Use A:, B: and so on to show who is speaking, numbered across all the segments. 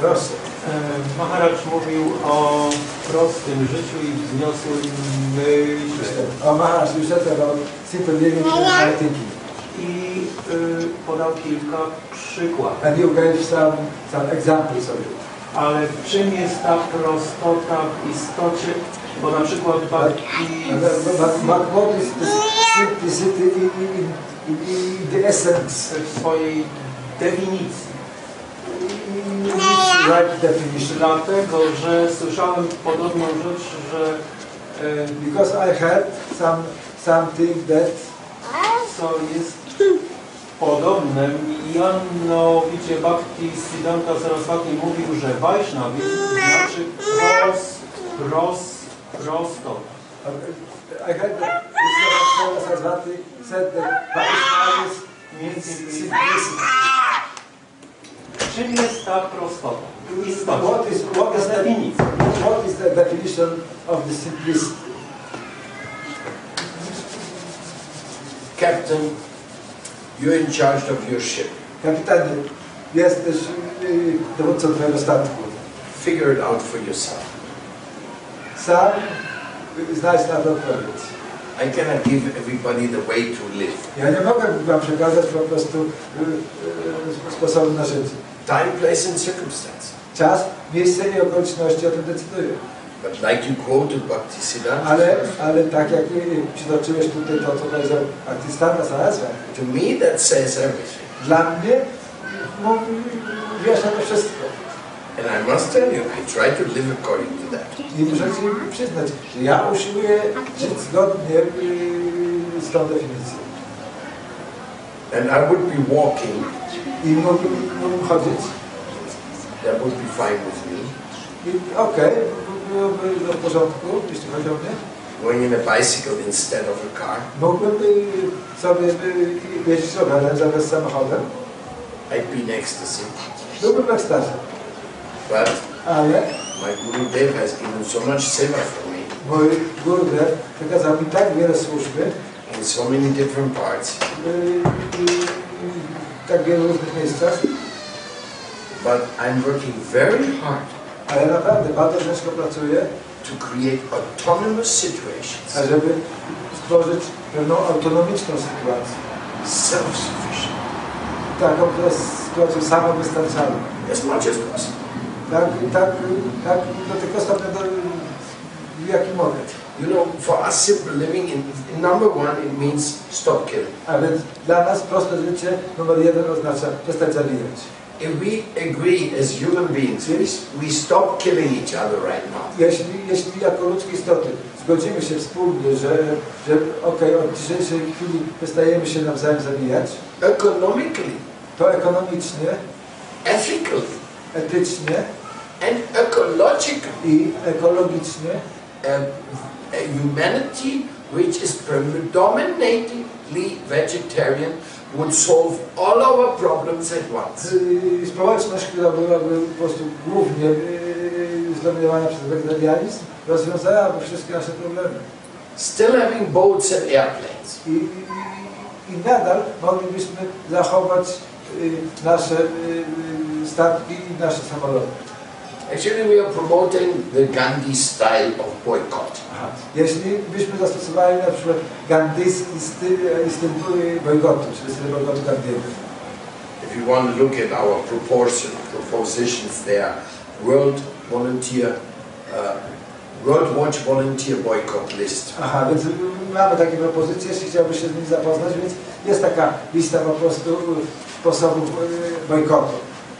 A: Proszę.
B: E, Maharacz mówił o prostym życiu i wzniosłym myśle
A: Oh, Maharaj, you said about simple living and high thinking.
B: i y, podał kilka przykładów.
A: And you gave some, some examples of it.
B: Ale w czym jest ta prostota w istocie? Bo na przykład bhakti
A: And then- But, but, but what is the simplicity in, in, in, in the essence?
B: w swojej definicji.
A: It's right definition.
B: Dlatego, że słyszałem podobną rzecz, że e,
A: Because I heard some, something that
B: co jest podobne. Mianowicie Bhakti Siddhanta Saraswati mówił, że Vaishnavizm znaczy pros, pros, prosto.
A: uh, I heard that Mr. Saraswati said that Vaishnavism means simplicity.
B: Czym jest ta prostota? Istota.
A: What is, what is, the,
B: Definicja.
A: what is the definition of the simplicity?
C: Captain, you're in charge of your ship.
A: Kapitanie, jesteś y, dowódcą twojego statku.
C: Figure it out for yourself.
A: Sam y, znajdź na to odpowiedź.
C: I cannot give everybody the way to live.
A: Ja nie mogę wam przekazać po prostu y, y, sposobu na życie.
C: Time, place, and circumstance.
A: Czas, miejsce i okoliczności o tym decydują.
C: But like you quoted Bhakti Siddhanta,
A: Ale, ale tak jak y, y, przytoczyłeś tutaj to, co powiedział Artystana Saraswa,
C: to me that says everything.
A: Dla mnie mówi, wiesz na to wszystko.
C: And I must tell you, I try to live according to that.
A: I muszę ci przyznać, że ja usiłuję żyć zgodnie y, z tą definicją.
C: And I would be walking,
A: I mógłbym, mógłbym chodzić
C: that would be fine with me.
A: i okej, byłoby do porządku, jeśli chodzi o mnie.
C: Going in a bicycle instead of a car.
A: Mógłbym y, sobie y, jeździć rowerem zamiast samochodem.
C: I'd be in ecstasy.
A: Byłbym w ekstazie.
C: But
A: Ale
C: my Guru Dev has given so much seva for me
A: mój gurde przekazał mi tak wiele służby
C: in so many different parts.
A: y, i w tak wielu różnych miejscach,
C: But I'm working very hard
A: ale naprawdę bardzo ciężko pracuję.
C: to create autonomous situations,
A: żeby stworzyć pewną autonomiczną sytuację.
C: self-sufficient,
A: Taką, która jest sytuacją samowystarczalną.
C: as much as possible.
A: Tak, tak, tak, do tego stopnia, do, jaki mogę.
C: You know, for us simple living, in, in number one, it means stop killing.
A: A więc dla nas proste życie numer jeden oznacza przestać zabijać.
C: If we agree as human beings, we, we stop killing each other right now.
A: Jeśli, jeśli jako ludzkie istoty zgodzimy się wspólnie, że, że okej, od dzisiejszej chwili przestajemy się nawzajem zabijać,
C: Economically,
A: to ekonomicznie,
C: ethically,
A: etycznie
C: and ecologically,
A: i ekologicznie
C: a, a humanity which is predominantly vegetarian would solve all our problems at once.
A: Y, Społeczność, która byłaby po prostu głównie y, zdominowana przez wegetarianizm, rozwiązałaby wszystkie nasze problemy.
C: still having boats and airplanes.
A: I, i, i nadal moglibyśmy zachować y, nasze y, y, statki i nasze samoloty.
C: Actually, we are promoting the Gandhi style of boycott.
A: Jeśli byśmy zastosowali na przykład gandyjski styl, y, styl y, bojkotu, czyli styl bojkotu Gandiego.
C: If you want to look at our proportion, propositions, they are World Volunteer, uh, World Watch Volunteer Boycott List.
A: Aha, więc y, mamy takie propozycje, jeśli chciałby się z nimi zapoznać, więc jest taka lista po prostu y, sposobów y, bojkotu.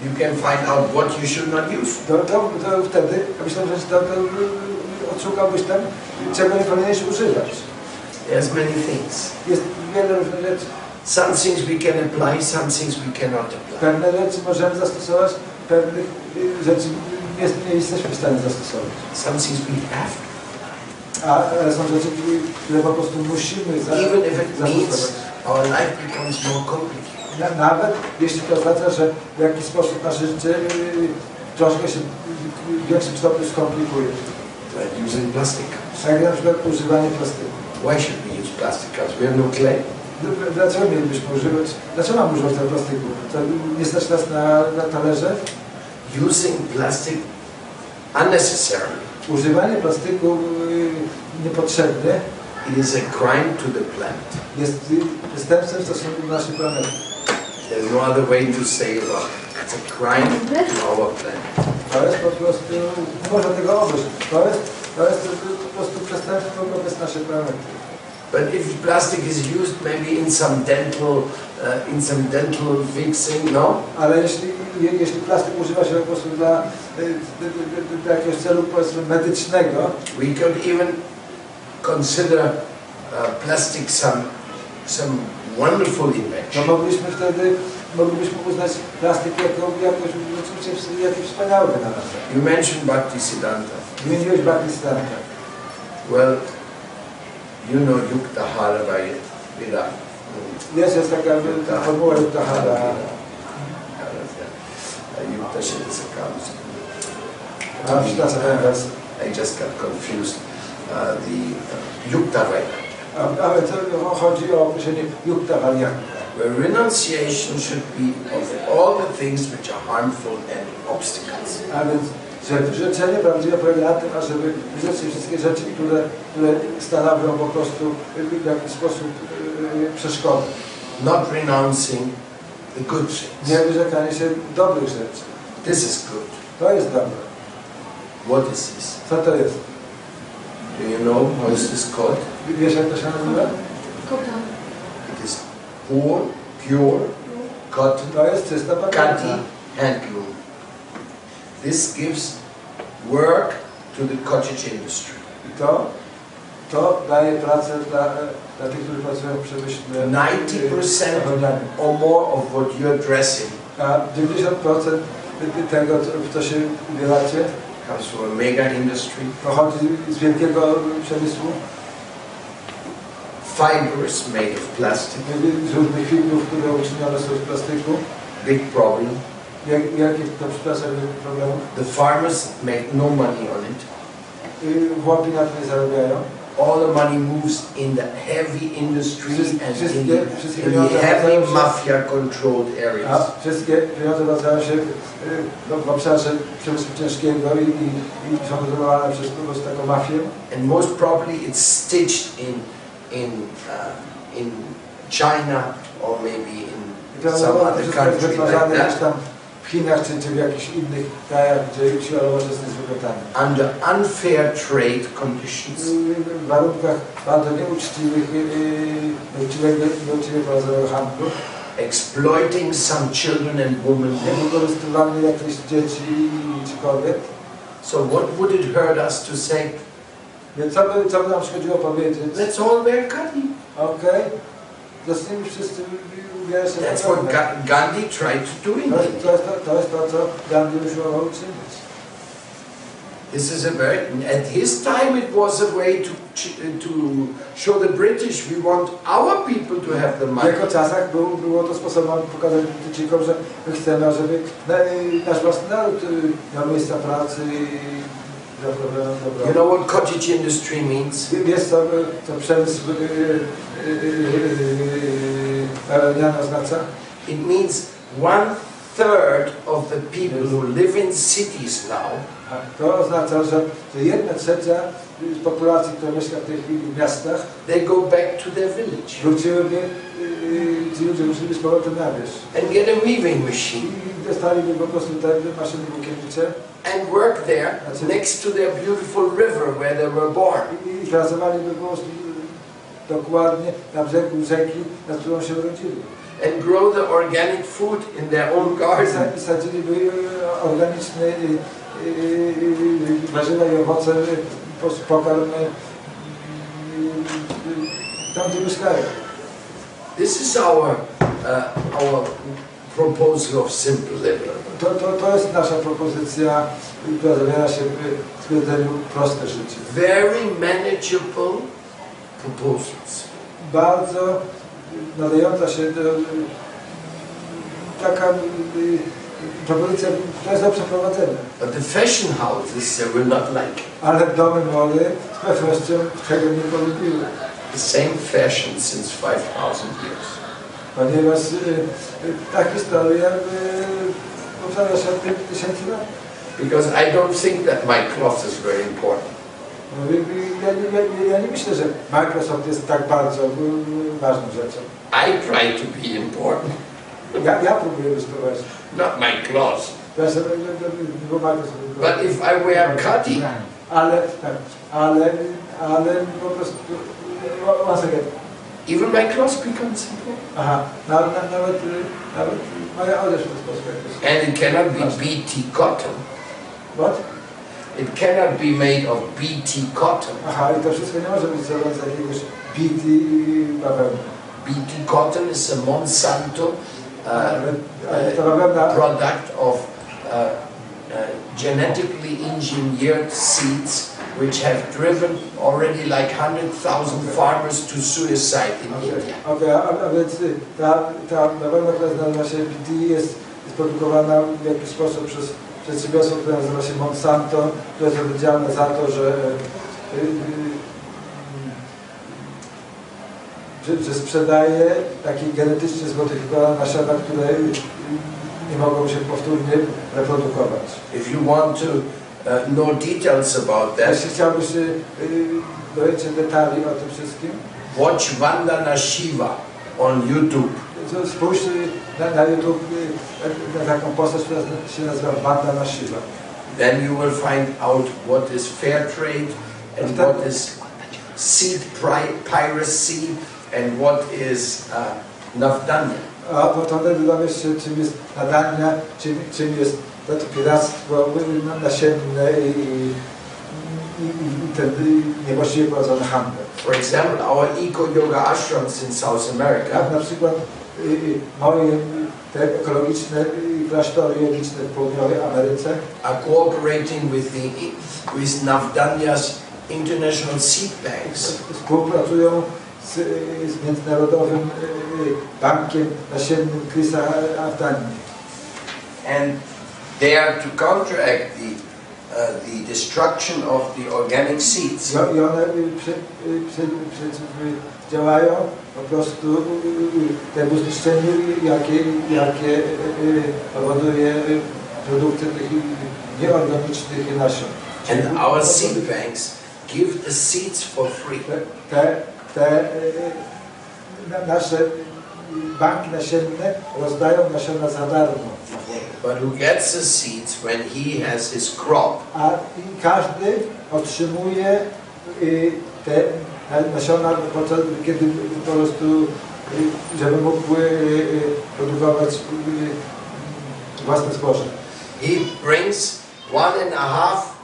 C: You can find out what you should not use.
A: To, to, to wtedy, ja myślę, że to, to odszukałbyś tam, czego nie powinieneś używać.
C: There's many things.
A: Jest wiele różnych rzeczy.
C: Some things we can apply, some things we cannot apply.
A: Pewne rzeczy możemy zastosować, pewnych y, rzeczy nie, nie jesteśmy w stanie zastosować.
C: Some things we have,
A: A, ale są rzeczy, które po prostu musimy za,
C: to, even if it means
A: zastosować.
C: our life becomes more complicated.
A: Na, nawet jeśli to oznacza, że w jakiś sposób nasze życie y, troszkę się y, w większym stopniu skomplikuje.
C: Like using plastic cups.
A: Tak jak na przykład używanie plastyku.
C: Why should we use plastic cups? We have no clay.
A: Dl- Dlaczego mielibyśmy używać? Dlaczego mam używać tego plastiku? To nie stać nas na, na talerze?
C: using plastic unnecessarily.
A: Używanie plastiku y, niepotrzebne
C: It is a crime to the planet.
A: jest y, przestępstwem w stosunku do naszej planety.
C: There's no other way to say about it. It's a crime to our planet.
A: To jest po prostu, nie można tego obejść. To jest, to jest po prostu przestępstwo wobec naszej planety.
C: But if plastic is used maybe in some dental, uh, in some dental fixing, no?
A: Ale jeśli, je, jeśli plastik używa się po prostu dla, y, d- d- d- dla jakiegoś celu powiedzmy medycznego,
C: We could even consider uh, plastic some, some wonderful
A: no
C: invention.
A: mogliśmy wtedy, moglibyśmy uznać plastik jako jakoś, jakiś wspaniały wynalazek.
C: You mentioned Bhakti Siddhanta.
A: Wymieniłeś Pakistanta.
C: Well, you know Yukta Harabaya Vida.
A: Jest, jest taka ta formuła Yuktahara.
C: Uh, Yukta Shilsakams.
A: A przytasa ten wers.
C: I just got confused. Uh, the uh, Yukta Veda,
A: A- Ale to chodzi o określenie Yuktahara.
C: where renunciation should be of all the things which are harmful and obstacles.
A: A więc że wyrzeczenie prawdziwe polega na tym, ażeby wyrzec się wszystkie rzeczy, które, które stanowią po prostu w jakiś sposób yy, przeszkody.
C: Not renouncing the good
A: Nie
C: things.
A: wyrzekanie się dobrych rzeczy.
C: This is good.
A: To jest dobre.
C: What is this?
A: Co to jest?
C: Do you know how is this called?
A: Wiesz jak to się nazywa?
D: Kotan.
C: It is poor, pure cotton
A: To jest czysta
C: Kati
A: pamięta.
C: handloom. This gives work to the cottage industry.
A: I to, to daje pracę dla, e, dla tych, którzy pracują w przemyśle.
C: 90%
A: zachodnianym.
C: or more of what you're dressing
A: A 90% tego, co- w co się ubieracie,
C: comes from a mega industry.
A: pochodzi z wielkiego przemysłu,
C: Fiber is made of plastic.
A: z różnych filmów, które uczynione są z plastiku.
C: Big problem.
A: Jak, jakich to przepraszam, jakich problemów?
C: The farmers make no money on it.
A: Y, Chłopi na tym nie zarabiają.
C: All the money moves in the heavy industry
A: Wszyst-
C: and in
A: wszystkie-
C: the,
A: wszystkie
C: in the
A: pieniądze
C: heavy
A: wracają się-
C: mafia-controlled
A: A
C: areas.
A: wszystkie pieniądze wracają się y, no, w obszarze przemysłu ciężkiego i, i, i są kontrolowane przez kogoś taką mafię.
C: And most probably it's stitched in, in, uh, in China or maybe
A: I
C: in
A: to
C: some
A: no,
C: other
A: wszystko jest
C: country tak, like
A: wytwarzane gdzieś
C: that
A: tam w Chinach czy, czy w jakichś innych krajach, gdzie siła roboczy jest niezwykle
C: under unfair trade conditions.
A: y, w warunkach bardzo nieuczciwych, y, y, nieuczciwego, nieuczciwego prowadzenia handlu,
C: exploiting some children and women.
A: wykorzystywanie jakichś dzieci czy kobiet.
C: So what would it hurt us to say,
A: Więc co by, co by nam szkodziło powiedzieć?
C: let's all wear khadi?
A: Okej, zacznijmy wszyscy ubierać się
C: That's
A: na czarno.
C: what Ga- Gandhi tried to do in
A: To jest, to,
C: India.
A: jest to, to jest to, co Gandhi usiłował uczynić.
C: This is a very, at his time it was a way to, ch- to show the British we want our people to have the
A: W jego
C: money.
A: czasach był, było to sposobem pokazać Brytyjczykom, że my chcemy, żeby na, nasz własny naród y, miał miejsca pracy i zapewniał dobro.
C: You know what cottage industry means?
A: Jest to, to przemysł yy, yy, y, Aroniana oznacza.
C: It means one third of the people who live in cities now
A: Tak, To oznacza, że że jedna trzecia z populacji, która mieszka w tej chwili w miastach,
C: they go back to their village
A: wróciłyby, yy, ci ludzie musieliby z powrotem na wierzch.
C: and get a weaving
A: I
C: machine.
A: dostaliby po prostu te maszyny włókiennicze
C: and work there
A: That's it.
C: next to their beautiful river where they were born.
A: i- i pracowaliby po prostu yy, dokładnie na brzegu rzeki, na którą się urodzili.
C: And grow the organic food in their own
A: I sa-
C: garden.
A: I sadziliby e, organiczne e, e, e, warzywa i owoce, e, po prostu pokarm e, e, e, tam, gdzie mieszkają.
C: This is our, uh, our proposal of simple living.
A: To, to, to jest nasza propozycja, która zawiera się w stwierdzeniu proste życie.
C: Very manageable proposals.
A: Bardzo nadająca się do, taka e, propozycja, która jest do przeprowadzenia.
C: But the fashion houses, they will not like it.
A: Ale domy mody z pewnością tego nie polubiły.
C: The same fashion since 5,000 years.
A: Ponieważ y, y, tak historia y, powtarza się od 5 tysięcy lat.
C: Because I don't think that my cloth is very important.
A: No, i- i Ja, nie- ja, nie- ja nie myślę, że Microsoft jest tak bardzo mm, ważną rzeczą.
C: I try to be important,
A: Ja, ja próbuję występować.
C: not my cloth.
A: Ja sobie nie- nie- nie wyobrażam sobie.
C: But if I wear cutting,
A: Ale, tak, ale, ale po prostu... o- One second.
C: even my cloth becomes important.
A: Aha, nawet, nawet, y, nawet moja odzież w ten sposób jakoś.
C: And it cannot be BT cotton.
A: What?
C: It cannot be made of BT cotton.
A: Aha, i to wszystko nie może być zrobione z jakiegoś bit i bawełny.
C: BT cotton is a Monsanto uh,
A: Ale, ale ta bawełna...
C: product of uh, uh, genetically engineered seeds which have driven already like 100,000 farmers to suicide in
A: Okej,
C: India.
A: okej, a, a więc y, ta, ta bawełna, która nazywa się BT jest produkowana w jakiś sposób przez przedsiębiorstwo, które nazywa się Monsanto, które jest odpowiedzialne za to, że, y, y, y, że, że sprzedaje takie genetycznie zmodyfikowane nasiona, które y, y, nie mogą się powtórnie reprodukować.
C: If you want to uh, know details about that,
A: Jeśli chciałbyś y, y, dowiedzieć się detali o tym wszystkim,
C: watch Vandana Shiva on YouTube.
A: To Spójrz y, na, na YouTube y, na taką postać, która zna- się nazywa Wanda na Shiva.
C: Then you will find out what is fair trade
A: After-
C: and what is seed pri- piracy and what is uh, navdanya.
A: A potem wtedy dowiesz się, czym jest nadania, czym, czym jest to piractwo y, na- nasienne i, i, i, i ten y, niewłaściwie prowadzony handel.
C: For example, our eco yoga ashrams in South
A: Jak
C: America,
A: na przykład y, y, moje y, te ekologiczne y, klasztory jogiczne w południowej Ameryce
C: are cooperating with the with Navdanya's international seed banks.
A: współpracują z, y, z Międzynarodowym y, y, Bankiem Nasiennym Chrisa Afdanii.
C: and they are to counteract the, uh, the destruction of the organic seeds.
A: I o- i one y, przy- y, przy- przeciwdziałają po prostu y, y, temu zniszczeniu, y, jakie, jakie y, y, powoduje y, produkcja tych y, nieorganicznych nasion.
C: And our seed banks give the seeds for free.
A: Te, te, te y, na- nasze y, banki nasienne rozdają nasiona za darmo,
C: But who gets the seeds when he has his crop
A: a i każdy otrzymuje y, te na- nasiona, podczas- kiedy po prostu y, żeby mógł y, y, produkować y, własne zboże.
C: he brings one and a half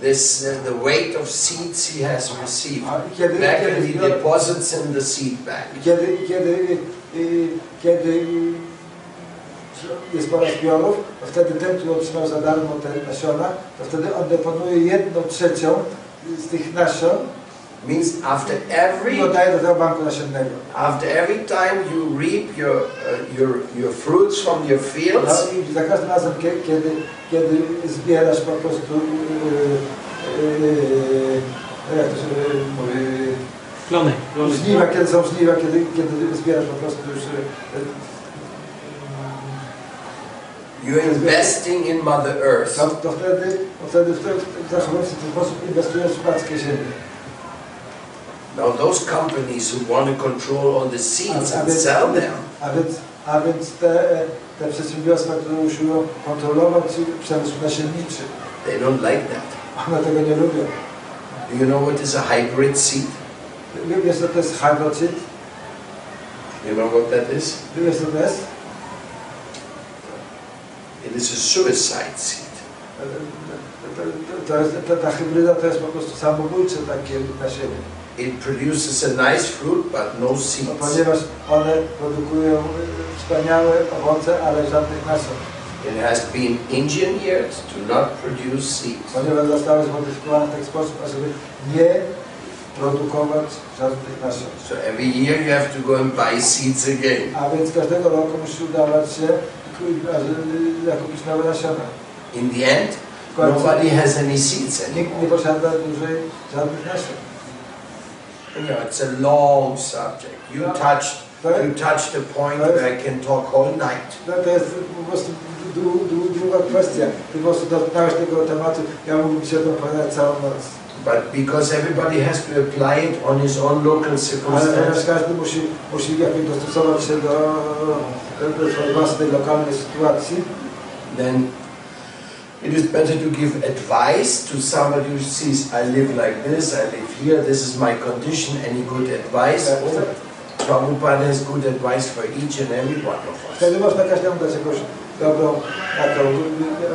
C: this uh, the weight of seeds he has received
A: A i kiedy,
C: back and
A: kiedy,
C: he
A: zbiorę,
C: deposits in the seed bank.
A: kiedy, kiedy, y, y, kiedy y, jest pora zbiorów, to wtedy ten, który otrzymał za darmo te nasiona, to wtedy on deponuje jedną trzecią z tych nasion
C: Means after
A: i
C: every
A: oddaje do tego banku nasiennego.
C: after every time you reap your uh, your your fruits from your
A: No
C: fields,
A: i za każdym razem, kie- kiedy, kiedy zbierasz po prostu, yy, yy, jak to się mówi,
B: Plony. plony.
A: żniwa, kiedy są żniwa, kiedy, kiedy zbierasz po prostu już... Yy,
C: You're investing in Mother
A: to,
C: Earth.
A: to wtedy, to wtedy w ten, w ten sposób, w ten sposób inwestujesz w matkę ziemię.
C: Now, those companies who want to control all the seeds and sell them,
A: a więc, a więc te, te przedsiębiorstwa, które usiłują kontrolować przemysł nasienniczy,
C: they don't like that.
A: one tego nie lubią.
C: Do you know what is a hybrid seed?
A: Wiesz co to jest hydrocid?
C: You know what that is?
A: Wiesz co to jest?
C: It is a suicide seed.
A: To, to, to jest, ta, ta hybryda to jest po prostu samobójcze takie na siebie.
C: It produces a nice fruit, but no
A: No,
C: seeds.
A: ponieważ one produkują y, wspaniałe owoce, ale żadnych nasion.
C: It has been engineered to not produce seeds.
A: Ponieważ zostały zmodyfikowane w taki sposób, ażeby nie produkować żadnych nasion.
C: So every year you have to go and buy seeds again.
A: A więc każdego roku musi udawać się ku- ażeby zakupić nowe nasiona.
C: In the end,
A: W końcu
C: nobody has any seeds
A: nikt nie
C: anymore.
A: posiada dłużej żadnych nasion.
C: You know, it's a long subject. You touched
A: To jest,
C: You touched a point where I can talk all night.
A: to No, jest po prostu dłu, dłu, długa kwestia. Ty po prostu dotknąłeś tego tematu, ja mógłbym się o tym opowiadać całą noc.
C: But because everybody has to apply it on his own local
A: Ale teraz
C: circumstance,
A: każdy musi, musi jakoś dostosować się do, do swojej własnej lokalnej sytuacji.
C: then it is better to give advice to somebody who sees, I live like this, I live here, this is my condition, any good advice? Oh, Prabhupada has good advice for each and every one of us.
A: Wtedy można każdemu dać jakąś dobrą taką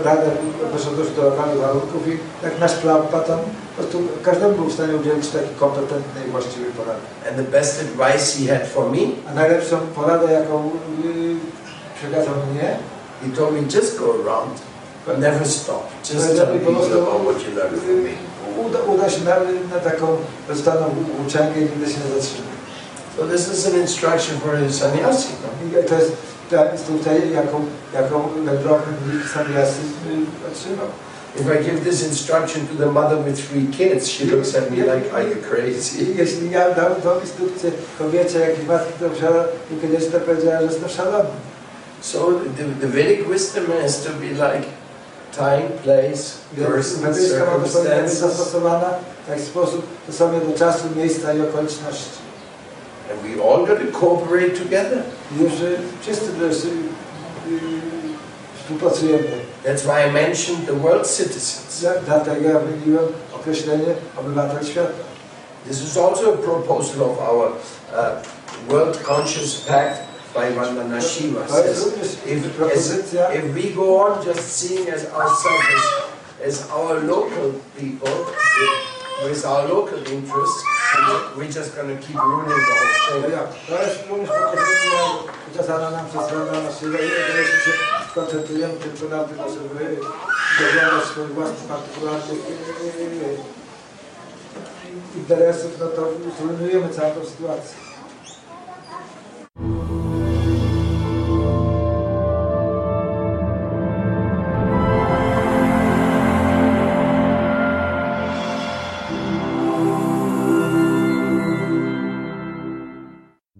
A: radę wysokości do lokalnych warunków i tak nasz platan po prostu każdemu był w stanie udzielić takiej kompetentnej i właściwej porady.
C: And the best advice he had for me,
A: A najlepszą poradę, jaką y, przekazał mnie,
C: he told me, just go around, but never stop. Just
A: Well,
C: tell people about what you learned from me.
A: uda, uda się na, na taką dostaną uczelnię i nigdy się nie zatrzyma.
C: So this is an instruction for a sannyasi. no?
A: I to jest ta instrukcja, jaką, jaką wędrowny Samiasy otrzymał.
C: If I give this instruction to the mother with three kids, she looks at me like, are you crazy?
A: I Jeśli ja dam tą instrukcję kobiecie, jak i matki, to wsiada, i kiedyś to powiedziała, że jestem szalony.
C: So the, the Vedic wisdom has to be like time, place,
A: Więc
C: person,
A: medycyna ma to powinna być
C: circumstances.
A: zastosowana w taki sposób stosownie do czasu, miejsca i okoliczności.
C: And we all got to cooperate together.
A: Już y, wszyscy też y, y, współpracujemy.
C: That's why I mentioned the world citizens.
A: Za- Dlatego ja wymieniłem określenie obywatel świata.
C: This is also a proposal of our uh, World Conscious Pact by Vandana Shiva.
A: To jest
C: Says,
A: również
C: if, as,
A: propozycja,
C: If we go on just seeing as ourselves as, as our local people with our local interests, we're just going to keep ruining the whole thing.
A: jak? To jest również propozycja przekazana nam przez Pana Sylwę i jeśli się skoncentrujemy tylko na tym, żeby dowiadać swoich własnych partykularnych e, y, y, y, interesów, no to zrujnujemy całą tą sytuację.